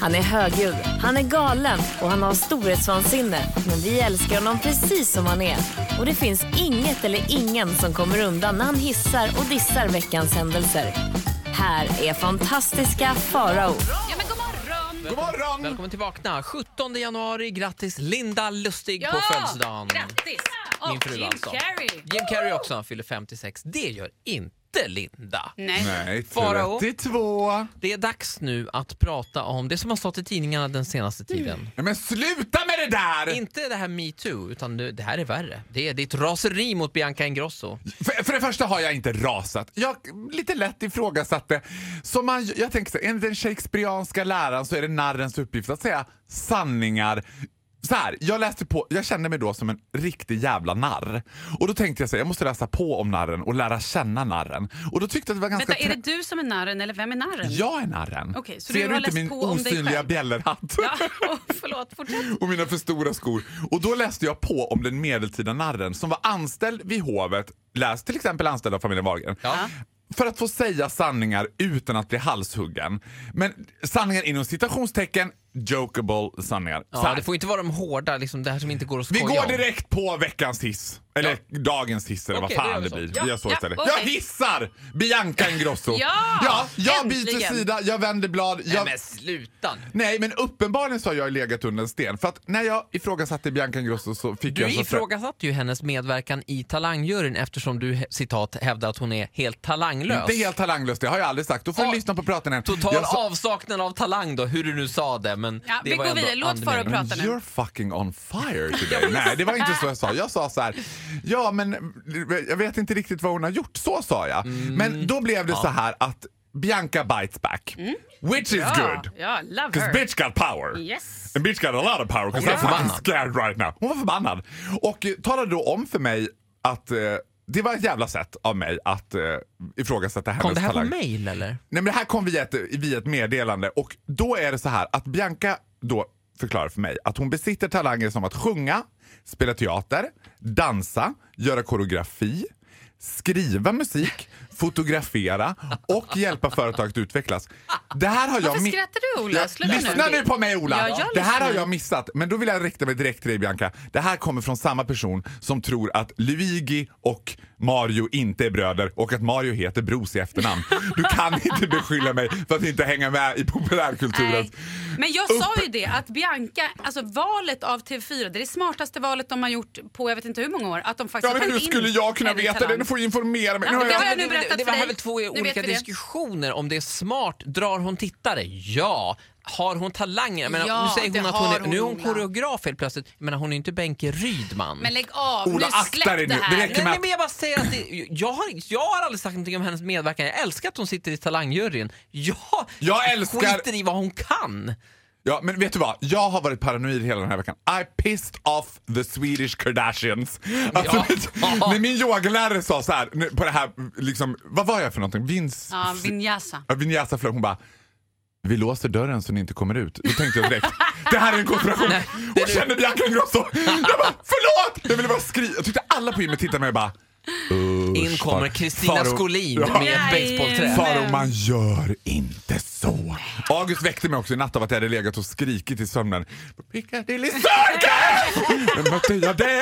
Han är högljudd, han är galen och han har storhetsvansinne. Men vi älskar honom precis som han är. Och det finns inget eller ingen som kommer undan när han hissar och dissar veckans händelser. Här är fantastiska Farao. Ja, men god morgon! God morgon! Välkommen till Vakna! 17 januari, grattis Linda Lustig på födelsedagen. Grattis! Och Min fru Jim alltså. Carrey. Jim Carrey också, han fyller 56. Det gör inte Linda. Nej. Nej, Farao. 32. Det är dags nu att prata om det som har stått i tidningarna den senaste tiden. Nej, men sluta med det där! Inte det här metoo, utan det det här är värre. Det är ditt raseri mot Bianca Ingrosso. För, för det första har jag inte rasat. Jag lite lätt ifrågasatte. Som man, jag tänker så här, enligt den shakespearianska läran så är det narrens uppgift att säga sanningar. Så här, jag läste på, jag kände mig då som en riktig jävla narr. Och då tänkte jag så här, jag måste läsa på om narren och lära känna narren. Och då tyckte jag att det var ganska... Vänta, är det trä- du som är narren eller vem är narren? Jag är narren. Okej, så Ser du har du inte läst min på om dig osynliga själv? bjällerhatt? Ja, oh, förlåt, fortsätt. och mina för stora skor. Och då läste jag på om den medeltida narren som var anställd vid hovet, läst till exempel anställd av familjen Wahlgren. Ja. För att få säga sanningar utan att bli halshuggen. Men sanningar inom citationstecken, jokeable sanningar. Så Ja, här. det får inte vara de hårda, liksom det här som inte går att Vi skoja går om. direkt på veckans hiss. Eller dagens hiss eller Okej, vad då gör fan vi det så. blir. Ja, Vi gör så ja, istället. okej. Jag hissar Bianca Ingrosso. Ja, jag byter äntligen. sida, jag vänder blad. Nej Jag... men sluta nu. Nej, men uppenbarligen så har jag legat under en sten. För att när jag ifrågasatte Bianca Ingrosso så fick jag... Du så ifrågasatte ju hennes medverkan i Talangjuryn eftersom du he- citat hävdar att hon är helt talanglös. Inte helt talanglös, det har jag aldrig sagt. Då får Ja. ni lyssna på praten här. Total Jag sa- avsaknad av talang då, hur du nu sa det. Men Ja, det vi var går ändå vidare. Låt andemeningen. Farao prata. Prata nu. You're fucking on fire today. Nej, det var inte så jag sa. Jag sa så här. Ja, men jag vet inte riktigt vad hon har gjort. Så sa jag. Mm. Men då blev det så här att Bianca bites back. Mm. Which is Ja, good. ja, love Because her. bitch got power. Yes. And bitch got a lot of power because Hon I'm var fucking förbannad. scared right now. Hon var förbannad. Och eh, talade då om för mig att eh, det var ett jävla sätt av mig att eh, ifrågasätta hennes Kom det här på talang. mail eller? Nej, men det här kom via ett, via ett meddelande och då är det så här att Bianca då förklarar för mig att hon besitter talanger som att sjunga, spela teater, dansa, göra koreografi, skriva musik, fotografera och hjälpa företag att utvecklas. Det här har jag Varför mi- skrattar du, Ola? Ja, Sluta nu. lyssna nu på mig Ja, Ola! jag det här lyssnar. har jag missat. Men då vill jag rikta mig direkt till dig Bianca. Det här kommer från samma person som tror att Luigi och Mario inte är bröder och att Mario heter Bros i efternamn. Du kan inte beskylla mig för att inte hänga med i populärkulturen. Nej. Men jag sa ju det att Bianca, alltså valet av TV4, det är det smartaste valet de har gjort på jag vet inte hur många år. Att de Ja, faktiskt men tagit hur in skulle jag kunna henne i veta det? Talang. Du får informera mig. Ja, Nu har men det jag... har jag nu det, det, berättat det var för dig. här väl två Nu vet vi olika det. diskussioner om det är smart, drar hon tittare? Ja. Har hon talanger? Jag menar, Ja, nu säger hon det att hon har är, nu är hon hon, Ola. koreograf helt plötsligt. Jag menar, hon är inte Benke Rydman. Men lägg av, Ola, nu släpp akta dig nu. det Det här. räcker. med Nej, nej, att- men jag bara säger att det, jag, har, jag har aldrig sagt någonting om hennes medverkan. Jag älskar att hon sitter i talangjuryn. Jag, Jag älskar- skiter i vad hon kan. Ja, men vet du vad? Jag har varit paranoid hela den här veckan. I pissed off the Swedish Kardashians. Alltså, Ja. vet, när min yogalärare sa så här, nu- på det här, liksom, vad var jag för någonting? Vins... Ja, Vinyasa. Ja, Vinyasa flög. Hon bara, vi låser dörren så ni inte kommer ut. Då tänkte jag direkt, det här är en konspiration. Hon känner Bianca Ingrosso. Jag bara, förlåt! Jag ville bara skriva. Jag tyckte alla på gymmet tittade på mig och bara, In kommer far- Kristina faror- Skolin Ja. med ett basebollträ. Jajamän. Faro, man gör inte så. August väckte mig också i natt av att jag hade legat och skrikit i sömnen. Piccadilly Circus! Men mötte jag dig?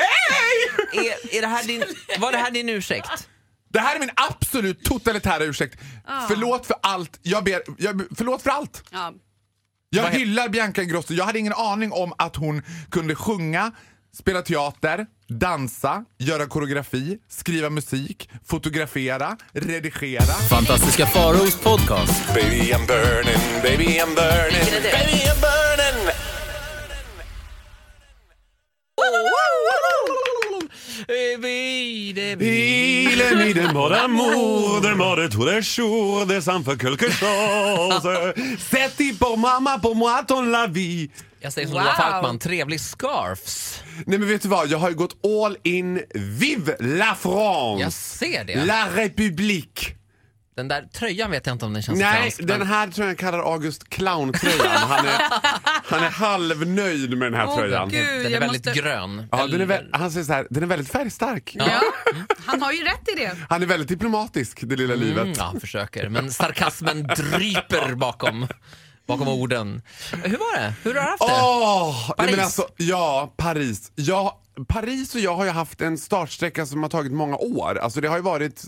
Är, är det här din, var det här din ursäkt? Det här är min absolut totalitära ursäkt. Förlåt för allt. Jag ber, jag, förlåt för allt. Ja. Jag Vad he- hyllar Bianca Ingrosso. Jag hade ingen aning om att hon kunde sjunga, spela teater, dansa, göra koreografi, skriva musik, fotografera, redigera. Fantastiska Faraos podcast. Baby I'm burning, baby I'm burning, baby I'm burning. Bilen i den bara moder, moder tore jour, det som för quelque chose. Sätt dig på mamma, på moi ton la vie. Jag säger som Wow. Lola Falkman, trevlig scarfs. Nej men vet du vad, jag har ju gått all in. Vive la France! Jag ser det. La République! Den där tröjan vet jag inte om den känns Nej, fransk. den men- här tror jag kallar August clowntröjan. Han är, han är halvnöjd med den här Åh, tröjan. Gud, den är jag väldigt måste- grön. Ja, den är Eller- vä- han säger så här, den är väldigt färgstark. Ja. Han har ju rätt i det. Han är väldigt diplomatisk, det lilla Mm, livet. ja, försöker. Men sarkasmen dryper bakom bakom orden. Hur var det? Hur har du haft det? Åh! Paris. Paris. Men alltså, ja, Paris. Ja, Paris och jag har ju haft en startsträcka som har tagit många år. Alltså det har ju varit...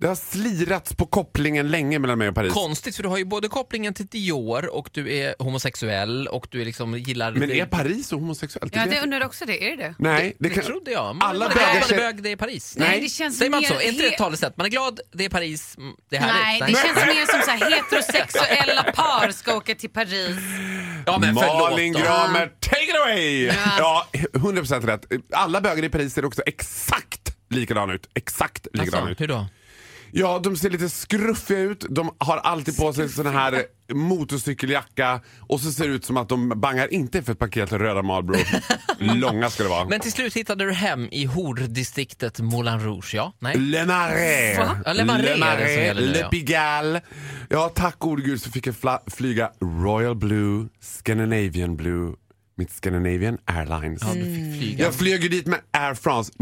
Det har slirats på kopplingen länge mellan mig och Paris. Konstigt, för du har ju både kopplingen till Dior och du är homosexuell och du är liksom gillar... Men är Paris så homosexuellt? Ja, vet det jag inte. undrar också det. Är det det? Nej, det det kan... trodde jag. Man Alla man är glad bögar man är ser- bög, det är Paris. Nej. det känns Säger man mer så? Är inte det he- ett talesätt? Man är glad, det är Paris, mm, det är Nej, härligt. det känns mer som så här heterosexuella par ska åka till Paris. Ja, men förlåt Malin då. Gramer, take it away! Ja, 100% rätt. Alla bögar i Paris ser också exakt likadana ut. Exakt likadana Alltså, ut. hur då? Ja, de ser lite skruffiga ut. De har alltid på sig sån här motorcykeljacka och så ser det ut som att de bangar inte för ett paket röda Marlboro. Långa ska det vara. Men till slut hittade du hem i hordistriktet Moulin Rouge, ja? Nej? Le Marais. Va? Ja, Le Marais är det som Marais, gäller nu, Le ja. Pigalle. Ja, tack gode gud så fick jag fla- flyga Royal Blue, Scandinavian Blue, mitt Scandinavian Airlines. Du fick flyga. Jag flög ju dit med Air France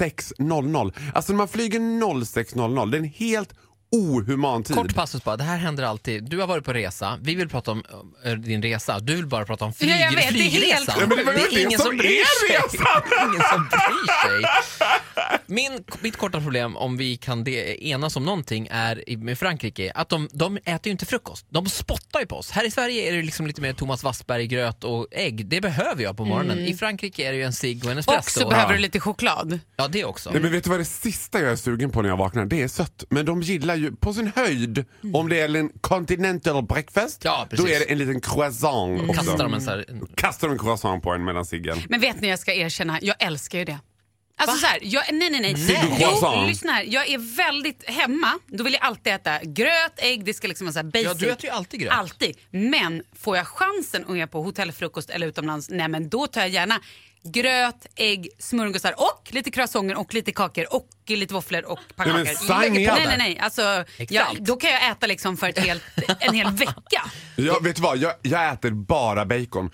06.00. Alltså när man flyger 06.00, det är en helt ohuman tid. Kort passus bara, det här händer alltid. Du har varit på resa, vi vill prata om eh, din resa, du vill bara prata om flyg, Ja, jag vet, det är helt- flygresan. Ja, men det var ju det som är Det är ingen som bryr sig. Min, mitt korta problem, om vi kan de, enas om någonting, är i- med Frankrike att de, de äter ju inte frukost. De spottar ju på oss. Här i Sverige är det liksom lite mer Thomas Wassberg-gröt och ägg. Det behöver jag på morgonen. I Frankrike är det ju en cigg och en Mm. Och espresso. så behöver du lite Mm. choklad. Ja, det också. Nej, men vet du vad det sista jag är sugen på när jag vaknar? Det är sött. Men de gillar ju på sin höjd, om det är en continental breakfast, Mm. Ja, precis. Mm. då är det en liten croissant också. Kastar de en så här... Kastar de en croissant på en mellan ciggen. Men vet ni, jag ska erkänna, jag älskar ju det. Alltså så här, jag, nej nej Mm. nej. Sigurd Jo, Croissant. lyssna här. Jag är väldigt hemma. Då vill jag alltid äta gröt, ägg, det ska liksom vara så här basic. Ja, du äter ju alltid gröt. Alltid. Men får jag chansen och är på hotellfrukost eller utomlands, nej men då tar jag gärna gröt, ägg, smörgåsar och lite croissanter och lite kakor och lite våfflor och pannkakor. men sign me nej, up nej, där. nej, Alltså, jag, då kan jag äta liksom för ett helt, en hel vecka. Ja, vet du vad? Jag, jag äter bara bacon.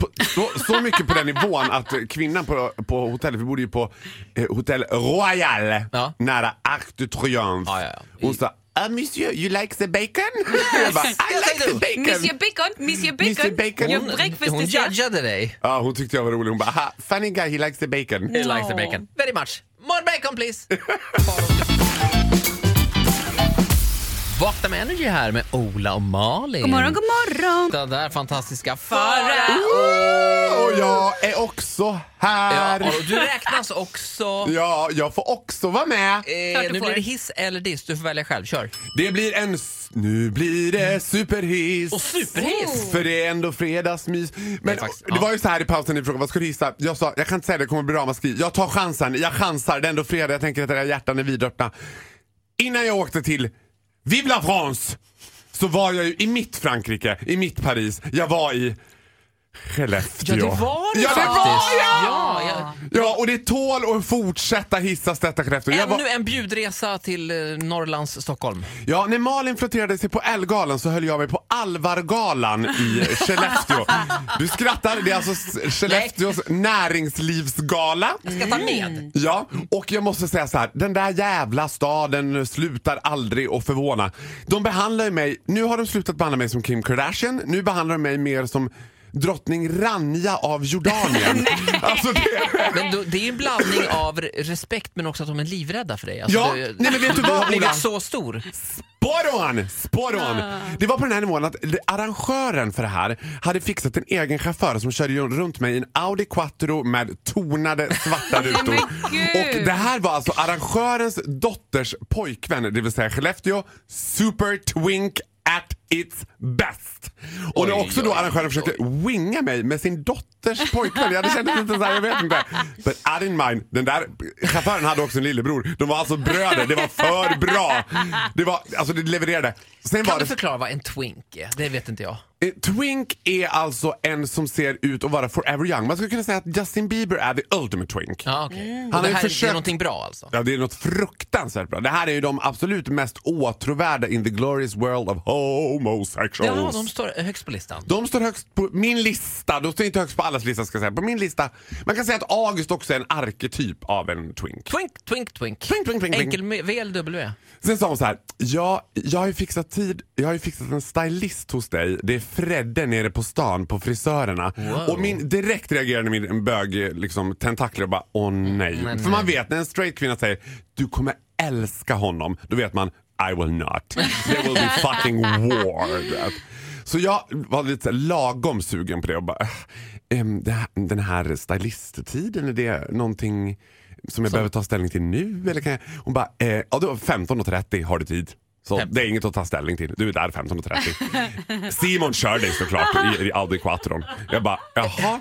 På, så, så mycket på den nivån att eh, kvinnan på, på hotellet, vi bodde ju på eh, Hotel Royal Ja. nära Arc de Triomphe. Ja, ja, ja. Hon sa ah, “Monsieur, you like the bacon?” Jag bara, “I like the bacon!” Monsieur Bacon, Monsieur Bacon, Monsieur Bacon. your Hon, breakfast hon is here. judgade dig. Ja, hon tyckte jag var rolig. Hon bara “Aha, funny guy, he likes the bacon”. He likes the bacon. Very much. More bacon please! Vakna med Energy här med Ola och Malin. God morgon, god morgon. Den där fantastiska fara. Oh, Och jag är också här! Ja, Ja, och du räknas också. jag får också vara med. Klart Eh, du nu får. blir det hiss eller diss. Du får välja själv. Kör. Det blir en... s- Nu blir det superhiss! Mm. Och superhiss! För det är ändå fredagsmys. Men är det, faktiskt- ja. var ju så här i pausen ni frågade vad ska du gissa? Jag sa, jag kan inte säga det, det kommer bli ramaskri. Jag tar chansen, jag chansar. Det är ändå fredag, jag tänker att era hjärtan är vidöppna. Innan jag åkte till Vive la France så var jag ju i mitt Frankrike, i mitt Paris. Jag var i Skellefteå. Ja, det var det Ja, det faktiskt. var jag! Ja, jag. Ja, och det tål att fortsätta hissa detta Skellefteå. Jag var- Ännu en bjudresa till eh, Norrlands Stockholm. Mm. Ja, när Malin flörterade sig på Ellegalan så höll jag mig på Alvargalan i Skellefteå. Du skrattar, det är alltså S- Skellefteås näringslivsgala. Ska ta med. Ja, och jag måste säga så här, den där jävla staden slutar aldrig att förvåna. De behandlar ju mig, nu har de slutat behandla mig som Kim Kardashian, nu behandlar de mig mer som drottning Rania av Jordanien. alltså det... Men då, det är ju en blandning av respekt men också att de är livrädda för dig. Alltså, Ja, du, nej men vet du du har vad Ola? blivit så stor. Spot on! Spot on! Det var på den här nivån att arrangören för det här hade fixat en egen chaufför som körde ju runt mig i en Audi Quattro med tonade svarta rutor. Och det här var alltså arrangörens dotters pojkvän, det vill säga Skellefteå, Super Twink at its best. Och när Oj, också då oj, arrangören försökte winga mig med sin dotters pojkvän. Jag hade känt lite såhär, jag vet inte. But I didn't mind. Den där chauffören hade också en lillebror. De var alltså bröder. Det var för bra. Det var, alltså det levererade. Sen Kan var du det, förklara vad en twink är? Det vet inte jag. eh, twink är alltså en som ser ut att vara forever young. Man skulle kunna säga att Justin Bieber är the ultimate twink. Ja, okej. Och Mm. har Mm. det ju här är försökt- någonting bra alltså? Ja, det är något fruktansvärt bra. Det här är ju de absolut mest åtråvärda in the glorious world of homosexuals. Ja, de står högst på listan. De står högst på min lista. De står inte högst på allas lista ska jag säga. På min lista. Man kan säga att August också är en arketyp av en twink. Twink, twink, twink. Twink, twink, twink, twink. Enkel med- VLW. Sen sa hon så här. Ja, jag har ju fixat tid. Jag har ju fixat en stylist hos dig. Det är Fredde nere på stan på frisörerna. Wow. Och min, direkt reagerade min bög liksom, tentakler och bara åh nej. nej. För man vet när en straight kvinna säger du kommer älska honom, då vet man I will not. There will be fucking war. That. Så jag var lite så här lagom sugen på det och bara ehm, det här, den här stylisttiden, är det någonting som jag behöver ta ställning till nu? Eller kan jag? Hon bara, eh, ja du har 15.30 har du tid. Så det är inget att ta ställning till. Du är där 15.30. Simon kör dig såklart i, i Audi Quattron. Jag bara, jaha.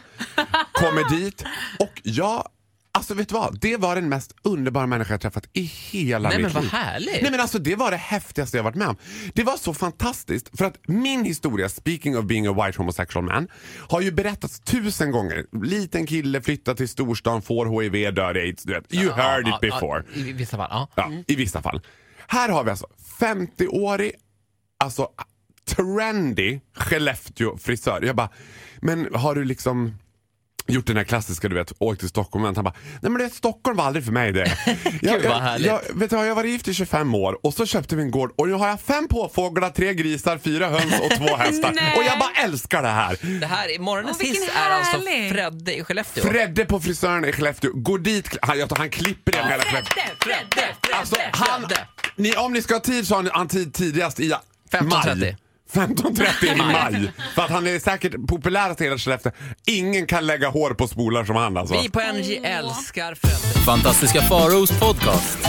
Kommer dit och jag, alltså vet du vad? Det var den mest underbara människa jag träffat i hela Nej, mitt men vad liv. härligt. Nej men alltså det var det häftigaste jag varit med om. Det var så fantastiskt för att min historia, speaking of being a white homosexual man, har ju berättats tusen gånger. Liten kille flyttar till storstan, får HIV, dör i aids. Du vet. You heard Ja, it ja, before. ja, I vissa fall, ja. Ja, I vissa fall. Här har vi alltså 50-årig, alltså trendy Skellefteå-frisör. Jag bara, men har du liksom gjort den här klassiska du vet, åkt till Stockholm och han bara, nej men du vet Stockholm var aldrig för mig det. jag, vad härligt. jag, vet du, vad, jag var gift i 25 år och så köpte vi en gård och nu har jag fem påfåglar, tre grisar, fyra höns och två hästar. Nej. och jag bara älskar det här. Det här, är- morgonens Åh, vilken hiss är alltså härlig. Fredde i Skellefteå. Fredde på frisören i Skellefteå, gå dit, han, jag tror han klipper den hela Skellefteå. Fredde, Fredde, Fredde. Alltså, han, Fredde. ni, om ni ska ha tid så har ni- han tid tidigast i 15.30. maj. 15.30 i maj. För att han är säkert populärast i hela Skellefteå. Ingen kan lägga hår på spolar som han alltså. Vi på NJ älskar Fredde. Fantastiska Faros podcast.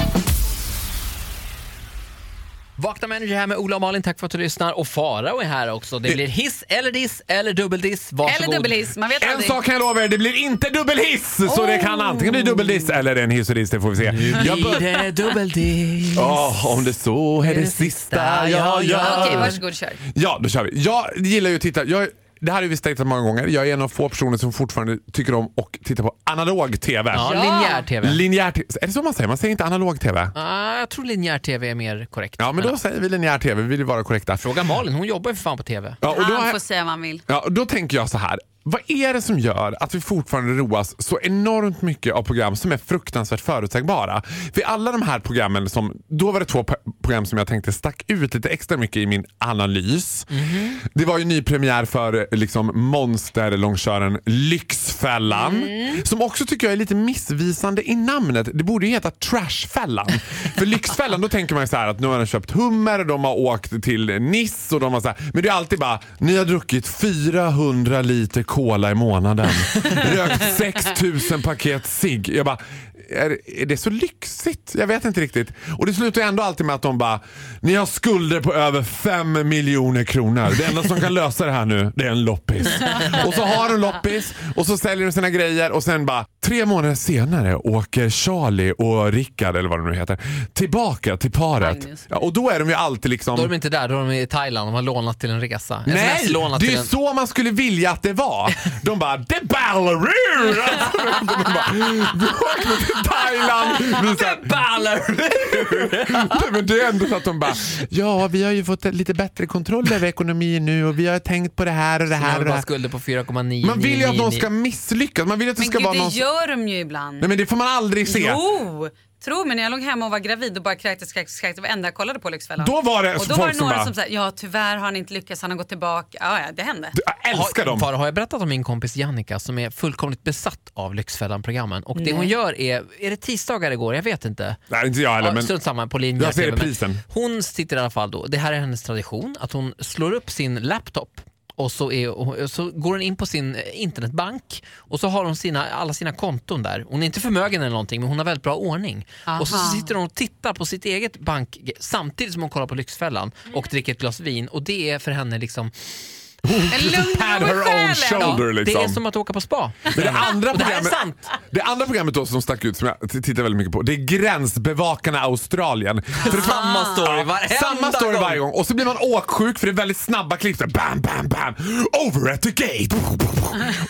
Vakna med NJ här med Ola och Malin, tack för att du lyssnar. Och Farao är här också. Det blir hiss eller diss eller dubbeldiss. Varsågod. Eller dubbelhiss, man vet En aldrig. sak kan jag lova er, det blir inte dubbelhiss! Så det kan antingen bli dubbeldiss eller en hiss och diss, Oh. det får vi se. Jag Blir bör- det dubbeldiss? Åh, om det så är det sista jag Ja, gör. Okej, varsågod kör. Ja, då kör vi. Jag gillar ju att titta. Jag, det här har vi statat många gånger. Jag är en av få personer som fortfarande tycker om och titta på analog TV. Ja, linjär TV. Linjär TV. Är det så man säger? Man säger inte analog TV? Ah, jag tror linjär TV är mer korrekt. Ja, men då säger vi linjär TV. Vi vill vara korrekta. Fråga Malin, hon jobbar ju för fan på TV. Ja, och då, Han är, får säga vad han vill. ja, och då tänker jag så här. Vad är det som gör att vi fortfarande roas så enormt mycket av program som är fruktansvärt förutsägbara? För alla de här programmen, som, då var det två po- program som jag tänkte stack ut lite extra mycket i min analys. Det var ju nypremiär för eh, liksom, monsterlångköraren Lyxfällan. Som också tycker jag är lite missvisande i namnet. Det borde ju heta Trashfällan. För Lyxfällan, då tänker man ju så här att nu har de köpt hummer och de har åkt till Niss och de har så här. Men det är alltid bara, ni har druckit 400 liter cola i månaden. Rökt 6000 paket cigg. Jag bara, är, är det så lyxigt? Jag vet inte riktigt. Och det slutar ju ändå alltid med att de bara, ni har skulder på över 5 miljoner kronor. Det enda som kan lösa det här nu, det är en loppis. Och så har de loppis och så säljer de sina grejer och sen bara, tre månader senare åker Charlie och Rickard, eller vad de nu heter, tillbaka till paret. Magnus. Ja, och då är de ju alltid liksom... Då är de inte där, då är de i Thailand. De har lånat till en resa. Nej, Sms-lånat det är till ju en... så man skulle vilja att det var. De bara, det ballerur! Alltså, de bara, vi åkte till Thailand. Vi så här, Nej, men det är ändå så att de bara, ja vi har ju fått lite bättre kontroll över ekonomin nu och vi har tänkt på det här och det Man här har och det bara här. skulder på 4,9. Man vill ju att någon ska misslyckas. Man vill ju att det Men ska gud, vara det någon... gör de ju ibland. Nej men det får man aldrig se. Jo! Tro mig, när jag låg hemma och var gravid och bara kräktes, kräktes, kräktes. Det enda jag kollade på Lyxfällan. Då var det och då folk var det som några bara- som sa, ja tyvärr har han inte lyckats, han har gått tillbaka. Ja, ja det hände. Jag älskar har, dem. Fara, har jag berättat om min kompis Jannica som är fullkomligt besatt av Lyxfällan-programmen? Och det hon gör är, är det tisdagar det går? Jag vet inte. Nej inte jag heller Ja, men Strunt samma, på linjen. Jag ser TV, men reprisen. Hon sitter i alla fall då, det här är hennes tradition, att hon slår upp sin laptop och så, är, och så går hon in på sin eh, internetbank och så har hon sina, alla sina konton där. Hon är inte förmögen eller någonting men hon har väldigt bra ordning. Och så Aha. sitter hon och tittar på sitt eget bank samtidigt som hon kollar på Lyxfällan och dricker ett glas vin och det är för henne liksom... Men lugn had dig her med own själen. shoulder liksom. Det är som att åka på spa. Men det andra Och det här är programmet, sant. det andra programmet då som stack ut som jag t- tittar väldigt mycket på det är Gränsbevakarna Australien. För det- Samma story varenda Samma story gång. varje gång och så blir man åksjuk för det är väldigt snabba klipp. Så här, Bam, bam, bam. Over at the gate.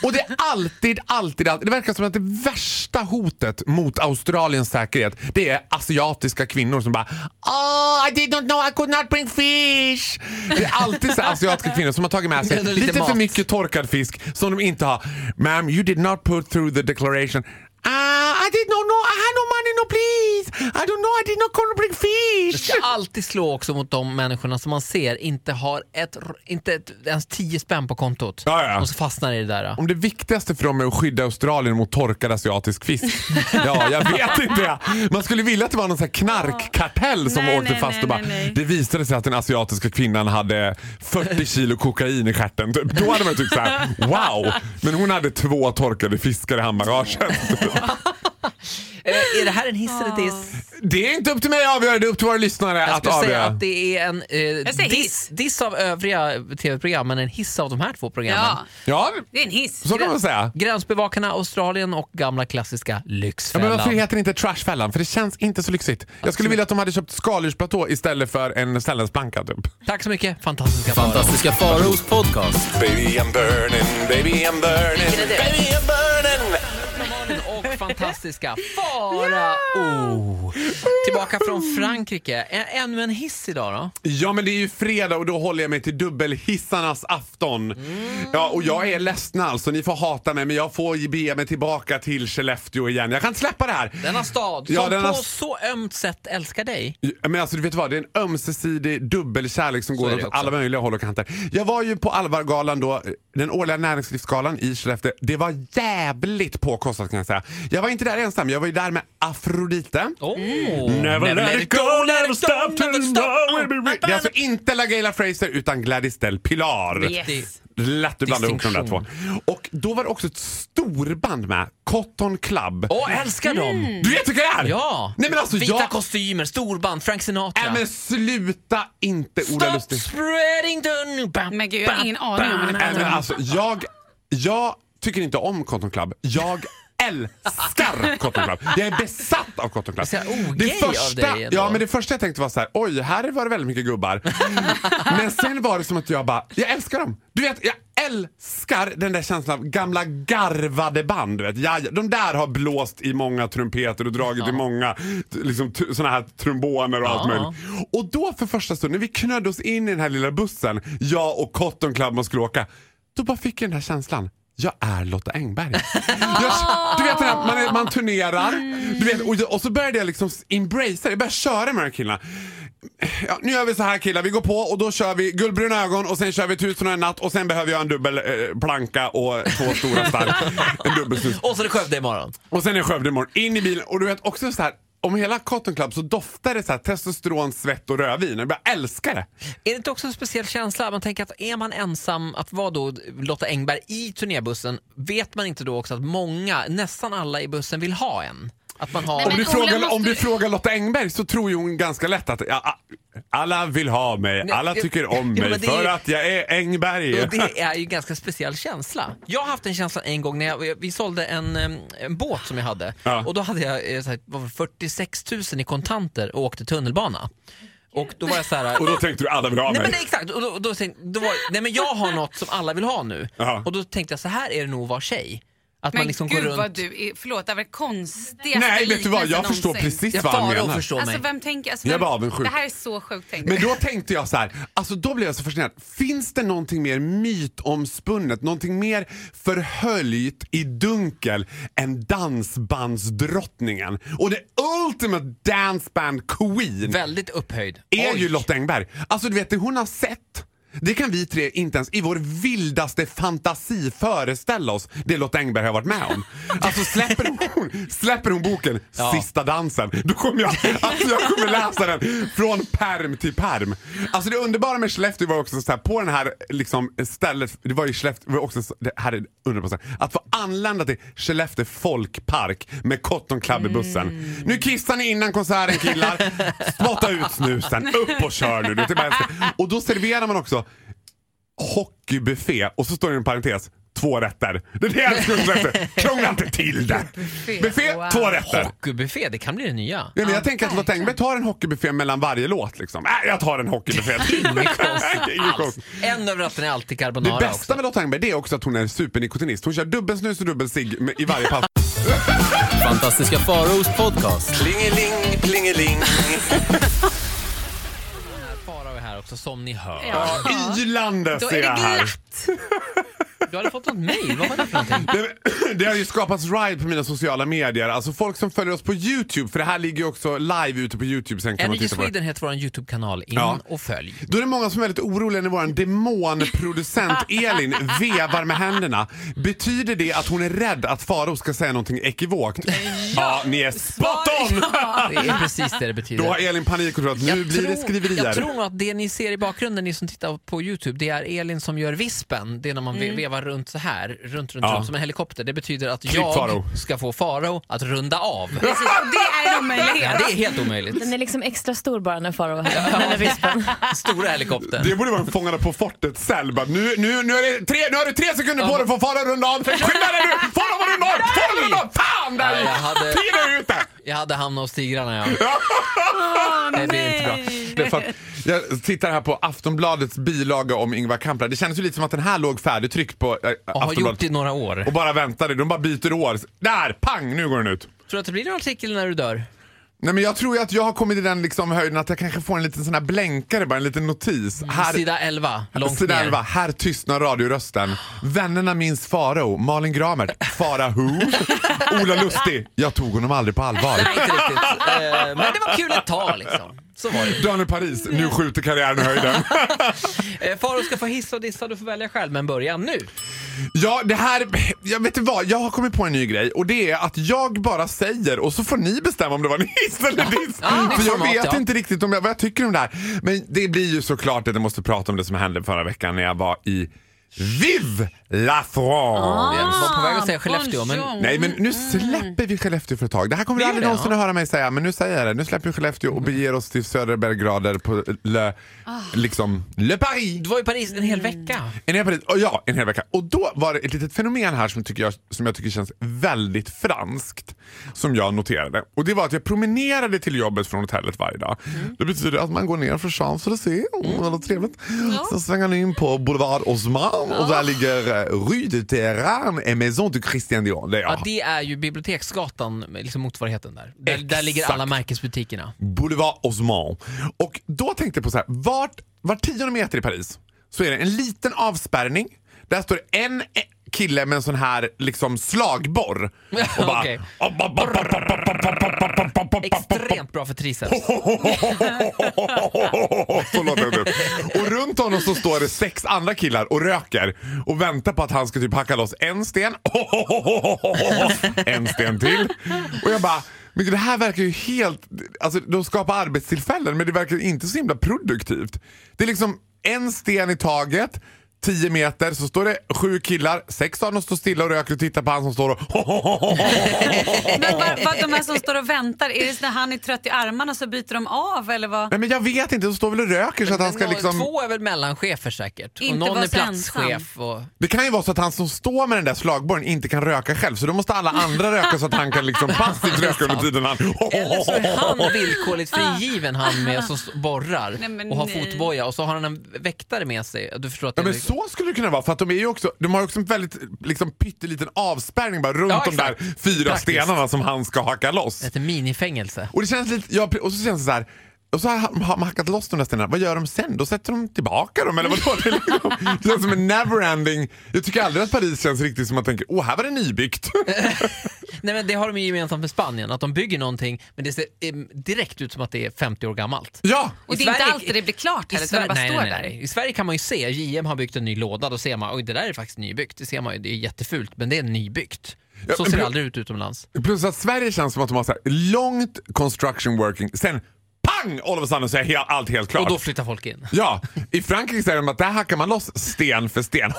Och det är alltid, alltid, alltid. Det verkar som att det värsta hotet mot Australiens säkerhet det är asiatiska kvinnor som bara Oh, I did not know I could not bring fish. Det är alltid så här asiatiska kvinnor som har tagit med sig Eller lite, lite för mat. mycket torkad fisk som de inte har. Ma'am, you did not put through the declaration. Ah, I did not know. I had no money, no please. I don't know. I did not come to bring Det fish. ska alltid slå också mot de människorna som man ser inte har ett, inte ett, ens 10 spänn på kontot. Ja, ja. Och så fastnar i det där. Om det viktigaste för dem är att skydda Australien mot torkad asiatisk fisk. ja, jag vet inte. Man skulle vilja att det var någon sån här knarkkartell som Nej, åkte nej, fast nej, och bara, nej, nej. det visade sig att den asiatiska kvinnan hade 40 kilo kokain i stjärten. Typ. Då hade man tyckt så här: wow. Men hon hade två torkade fiskar i handbagaget. Eller, Eh, är det här en hiss eller diss? Det är inte upp till mig att avgöra, det är upp till våra lyssnare Jag att skulle säga avgöra. att det är en eh, säger diss, hiss. diss av övriga tv-program men en hiss av de här två programmen. Ja, Ja, det är en hiss. så kan man säga. Gränsbevakarna, Australien och gamla klassiska Ja, men Lyxfällan. varför heter det inte Trashfällan? För det känns inte så lyxigt. Jag skulle vilja att de hade köpt skaldjursplatå istället för en Sällensblanka typ. Tack så mycket, fantastiska Farao. Fantastiska Faros podcast. Baby I'm burning, baby I'm burning, Vilken är det? baby I'm burning. och fantastiska Farao. Tillbaka från Frankrike. Ä- Ännu en hiss idag då. Ja men det är ju fredag och då håller jag mig till dubbelhissarnas afton. Mm. Ja och jag är ledsen alltså, ni får hata mig men jag får bege mig tillbaka till Skellefteå igen. Jag kan inte släppa det här. Denna stad Ja, som denna på s- så ömt sätt älskar dig. Men alltså du vet vad, det är en ömsesidig dubbelkärlek som är går det åt också. alla möjliga håll och kanter. Jag var ju på Alvargalan då, den årliga näringslivsgalan i Skellefteå. Det var jävligt påkostat kan jag säga. Jag var inte där ensam, jag var ju där med Afrodite. Oh. Never let it go, never stop till never the stop. Det är alltså inte LaGaylia Fraser utan Gladys Del Pilar. Yes. Det- Lätt du blandar ihop de där två. Distinktion. Och då var det också ett storband med, Cotton Club. Åh, älskar dem! Du vet vilka det är? Ja! Mm. Nej, men alltså, Vita jag... kostymer, storband, Frank Sinatra. Nej men sluta inte Ola Stop Lustig. spreading the news! Bam, Men gud, jag har bam, ingen aning om vad bam. ni Nej, pratar men om. alltså, jag, jag tycker inte om Cotton Club. Jag älskar Cotton Club. Jag är besatt av Cotton Club. Så jag är Det ogay av första, dig ändå. ja, men det första jag tänkte var så här, oj, här var det väldigt mycket gubbar. men sen var det som att jag bara, jag älskar dem. Du vet, jag älskar den där känslan av gamla garvade band. Du vet. Ja, ja, de där har blåst i många trumpeter och dragit i många t- liksom, t- såna här tromboner och allt Ja. möjligt. Och då för första stunden, när vi knödde oss in i den här lilla bussen, jag och Cotton Club man skulle åka, då bara fick jag den här känslan. Jag är Lotta Engberg. Jag, du vet den här, man, är- man turnerar du vet, och, jag- och så började jag liksom embracea det. Jag började köra med de här killarna. Ja, nu gör vi så här killar, vi går på och då kör vi guldbruna ögon och sen kör vi tusen och en natt och sen behöver jag en dubbel eh, planka och två stora stark. en dubbelsnus. Och så är det Skövde imorgon. Och sen är Skövde imorgon. In i bilen. Och du vet också så här. Om hela Cotton Club så doftar det så här testosteron, svett och rödvin. Jag bara älskar det. Är det inte också en speciell känsla? Man tänker att är man ensam, att vara då Lotta Engberg i turnébussen, vet man inte då också att många, nästan alla i bussen vill ha en? Att man har... Nej, Om men- Ola, du, frågar, måste om du du- frågar Lotta Engberg så tror ju hon ganska lätt att ja, a- alla vill ha mig, Nej, alla jo, tycker om jo, mig men det är för ju- att jag är Engberg. Och det är ju en ganska speciell känsla. Jag har haft en känsla en gång när jag, vi sålde en, em, en båt som jag hade Ja. och då hade jag eh, så här, vad var det, 46 000 i kontanter och åkte tunnelbana. Och då var jag så här... Och då tänkte du alla vill ha Nej men mig. nej, exakt, och då, då tänkte, då var, nej men jag har något som alla vill ha nu. Ja. Och då tänkte jag så här är det nog att vara tjej. Att Men man liksom gud går runt vad du är, förlåt, det var det konstigaste Nej, vet du vad? Jag liknelsen förstår någonsin. precis Jag vad han far och menar. förstår Alltså mig. vem tänker, alltså, Jag är vem, bara avundsjuk. Det här är så sjukt tänkt. Men då tänkte jag så här, alltså då blev jag så fascinerad. Finns det någonting mer mytomspunnet, någonting mer förhöljt i dunkel än dansbandsdrottningen? Och the ultimate danceband queen Väldigt upphöjd. är Oj. ju Lotta Engberg. Alltså du vet det hon har sett. Det kan vi tre inte ens i vår vildaste fantasi föreställa oss det Lotta Engberg har varit med om. Alltså släpper hon, släpper hon boken Sista dansen, då kommer jag, alltså, jag kommer läsa den från perm till perm. Alltså det underbara med Skellefteå var också så här, på den här liksom, stället, det var ju Skellefteå, det var också, så- det här är underbart, så här, att få anlända till Skellefteå folkpark med Cotton Club i Mm. bussen. Nu kissar ni innan konserten killar, spotta ut snusen, upp och kör nu. Det är bara häftigt. och då serverar man också hockeybuffé och så står det en parentes Två rätter. Det är det jag skulle säga. Krångla inte till det. Buffé, Buffé, wow. två rätter. Hockeybuffé, det kan bli det nya. Ja, men jag tänker att Lotta Engberg tar en hockeybuffé mellan varje låt. Liksom. Äh, jag tar en hockeybuffé. Inget konstigt alls. En över ratten är alltid Det carbonara bästa också. med Lotta Engberg det är också att hon är supernikotinist. Hon kör dubbelsnus och dubbelcigg med- i varje pass. Fantastiska Faros podcast. Plingeling, plingeling. Farao är här också som ni hör. Ja. Ylande Då ser är jag det här. glatt. Du hade fått något mail, vad var det för någonting? Det, det har ju skapats ride på mina sociala medier. Alltså folk som följer oss på Youtube, för det här ligger ju också live ute på Youtube sen kan man Energy titta på det. Sweden heter vår YouTube-kanal. In Ja. och följ. Då är det många som är väldigt oroliga när vår demonproducent Elin vevar med händerna. Betyder det att hon är rädd att Faro ska säga någonting ekivokt? Ja, ni är spot on! Det är precis det det betyder. Ah. Då har Elin panik och tror att nu Jag blir det skriverier. Jag tror nog att det ni ser i bakgrunden, ni som tittar på Youtube, det är Elin som gör vispen. Det är när man ve- vevar runt så här, runt, runt, Mm. Ja. runt som en helikopter. Det betyder att Klipp, jag Faro. ska få Faro att runda av. Precis, och det är en Ja, omöjlighet. det är helt omöjligt. Den är liksom extra stor bara när Farao var här. Den där vispen. Stora helikoptern. Det borde vara en Fångarna på fortet-cell. Bara, Nu, nu, nu, är det tre- nu har du tre sekunder på dig för att fara runda av. Skynda dig nu! Fara vad runda av! Fara runda av! Fan där! Nej, jag hade- Tiden är ute! Jag hade hamnat hos tigrarna jag. det blir inte bra. Det är för att jag tittar här på Aftonbladets bilaga om Ingvar Kamprad. Det kändes ju lite som att den här låg färdigtryckt på äh, Och har gjort Aftonbladet. det i några år. Och bara väntade. De bara byter år. Där! Pang! Nu går den ut. Tror du att det blir en artikel när du dör? Nej men jag tror ju att jag har kommit i den liksom höjden att jag kanske får en liten sån här blänkare bara, en liten notis. Här, Mm, Sida 11, långt Sida ner. 11, här tystnar radiorösten. Vännerna minns Farao, Malin Gramer, Fara Who, Ola Lustig. Jag tog honom aldrig på allvar. Nej, inte riktigt. Eh, Men det var kul ett tag liksom. Så var det. Daniel Paris, nu skjuter karriären i höjden. Eh, Faro ska få hissa och dissa, du får välja själv, men börja nu. Ja, det här... Jag vet inte vad, jag har kommit på en ny grej och det är att jag bara säger och så får ni bestämma om det var en hiss eller diss. Ja, det är För jag format, vet ja. inte riktigt om jag, vad jag tycker om det här. Men det blir ju såklart att jag måste prata om det som hände förra veckan när jag var i Vive la France! Jag var på väg att säga Skellefteå, men Ah, Bonjour. Nej men nu släpper vi Skellefteå för ett tag. Det här kommer du gör aldrig det, någonsin ja. att höra mig säga men nu säger jag det. Nu släpper vi Skellefteå och beger oss till södra Belgrader på le, Ah. liksom, le Paris. du var i Paris en hel Mm. vecka. En hel Paris, och ja, en hel vecka. Och då var det ett litet fenomen här som, tycker jag, som jag tycker känns väldigt franskt. Som jag noterade. Och det var att jag promenerade till jobbet från hotellet varje dag. Mm. Det betyder att man går ner för Champs-Élysées, mm. väldigt trevligt. Sen svänger ni in på Boulevard Haussmann och där ligger eh, Rue de Terran et Maison du Christian Dior. Där jag Ja, det är ju Biblioteksgatan, liksom motsvarigheten där. Där, där Exakt. ligger alla märkesbutikerna. Boulevard Haussmann. Och då tänkte jag på så här, vart, var tionde meter i Paris så är det en liten avspärrning. Där står det en kille med en sån här liksom slagborr. Och bara... Okej. Extremt bra för triceps. Så låter det typ. Och runt honom så står det sex andra killar och röker och väntar på att han ska typ hacka loss en sten. En sten till. Och jag bara, men gud, det här verkar ju helt... Alltså de skapar arbetstillfällen men det verkar inte så himla produktivt. Det är liksom en sten i taget. 10 meter så står det sju killar, sex av dem står stilla och röker och tittar på han som står och Men vad, vad de här som står och väntar, är det när han är trött i armarna så byter de av eller vad? Nej men jag vet inte, de står väl och röker så att han ska Nå- liksom... Två är väl mellanchefer säkert. Inte och någon vara är så platschef. Och... Det kan ju vara så att han som står med den där slagborren inte kan röka själv så då måste alla andra röka så att han kan liksom passivt röka under tiden han... Eller så är Alltså, han villkorligt frigiven han med som s- borrar Nej, men och har nej. fotboja och så har han en väktare med sig. Du förstår att det Ja, men är- så skulle det kunna vara för att de, är ju också, de har ju också en väldigt liksom, pytteliten avspärrning bara runt Ja, de där exakt. fyra Praktiskt. stenarna som han ska hacka loss. ett minifängelse. Och det känns lite, ja, och så känns det så här. Och så har har man hackat loss de där stenarna. Vad gör de sen? Då sätter de tillbaka dem eller vadå? Det, är liksom, det känns som en neverending. Jag tycker aldrig att Paris känns riktigt som man tänker, åh här var det nybyggt. Nej, men det har de ju gemensamt med Spanien, att de bygger någonting men det ser em, direkt ut som att det är 50 år gammalt. ja! Och det I är inte Sverige- alltid det blir klart heller, utan Sverige- det bara nej, står nej, nej, nej. I Sverige kan man ju se, JM har byggt en ny låda, då ser man oj det där är faktiskt nybyggt. Det ser man ju, det är jättefult men det är nybyggt. Ja, Så men- ser det aldrig ut utomlands. Plus att Sverige känns som att de har så här långt construction working, sen pang all of a sudden så är he- allt helt klart. Och då flyttar folk in. Ja, i Frankrike säger de att där hackar man loss sten för sten.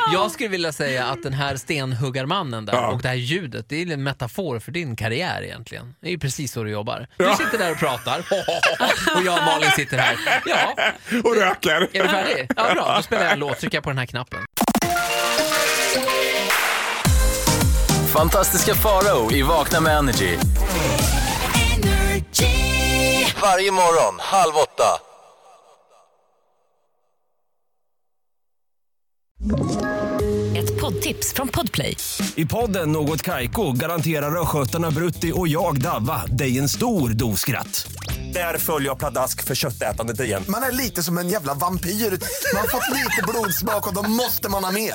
Jag skulle vilja säga att den här stenhuggarmannen där Ja. och det här ljudet, det är en metafor för din karriär egentligen. Det är ju precis så du jobbar. Du sitter där och pratar och jag och Malin sitter här. Ja, Och röker. är du färdig? Ja, bra. Då spelar jag en låt, trycker jag på den här knappen. Fantastiska Farao i Vakna med Energy. Varje morgon, halv åtta. Ett poddtips från Podplay. I podden Något Kaiko garanterar östgötarna Brutti och jag, Davva, dig en stor dos skratt. Där följer jag pladask för köttätandet igen. Man är lite som en jävla vampyr. Man har fått lite blodsmak och då måste man ha mer.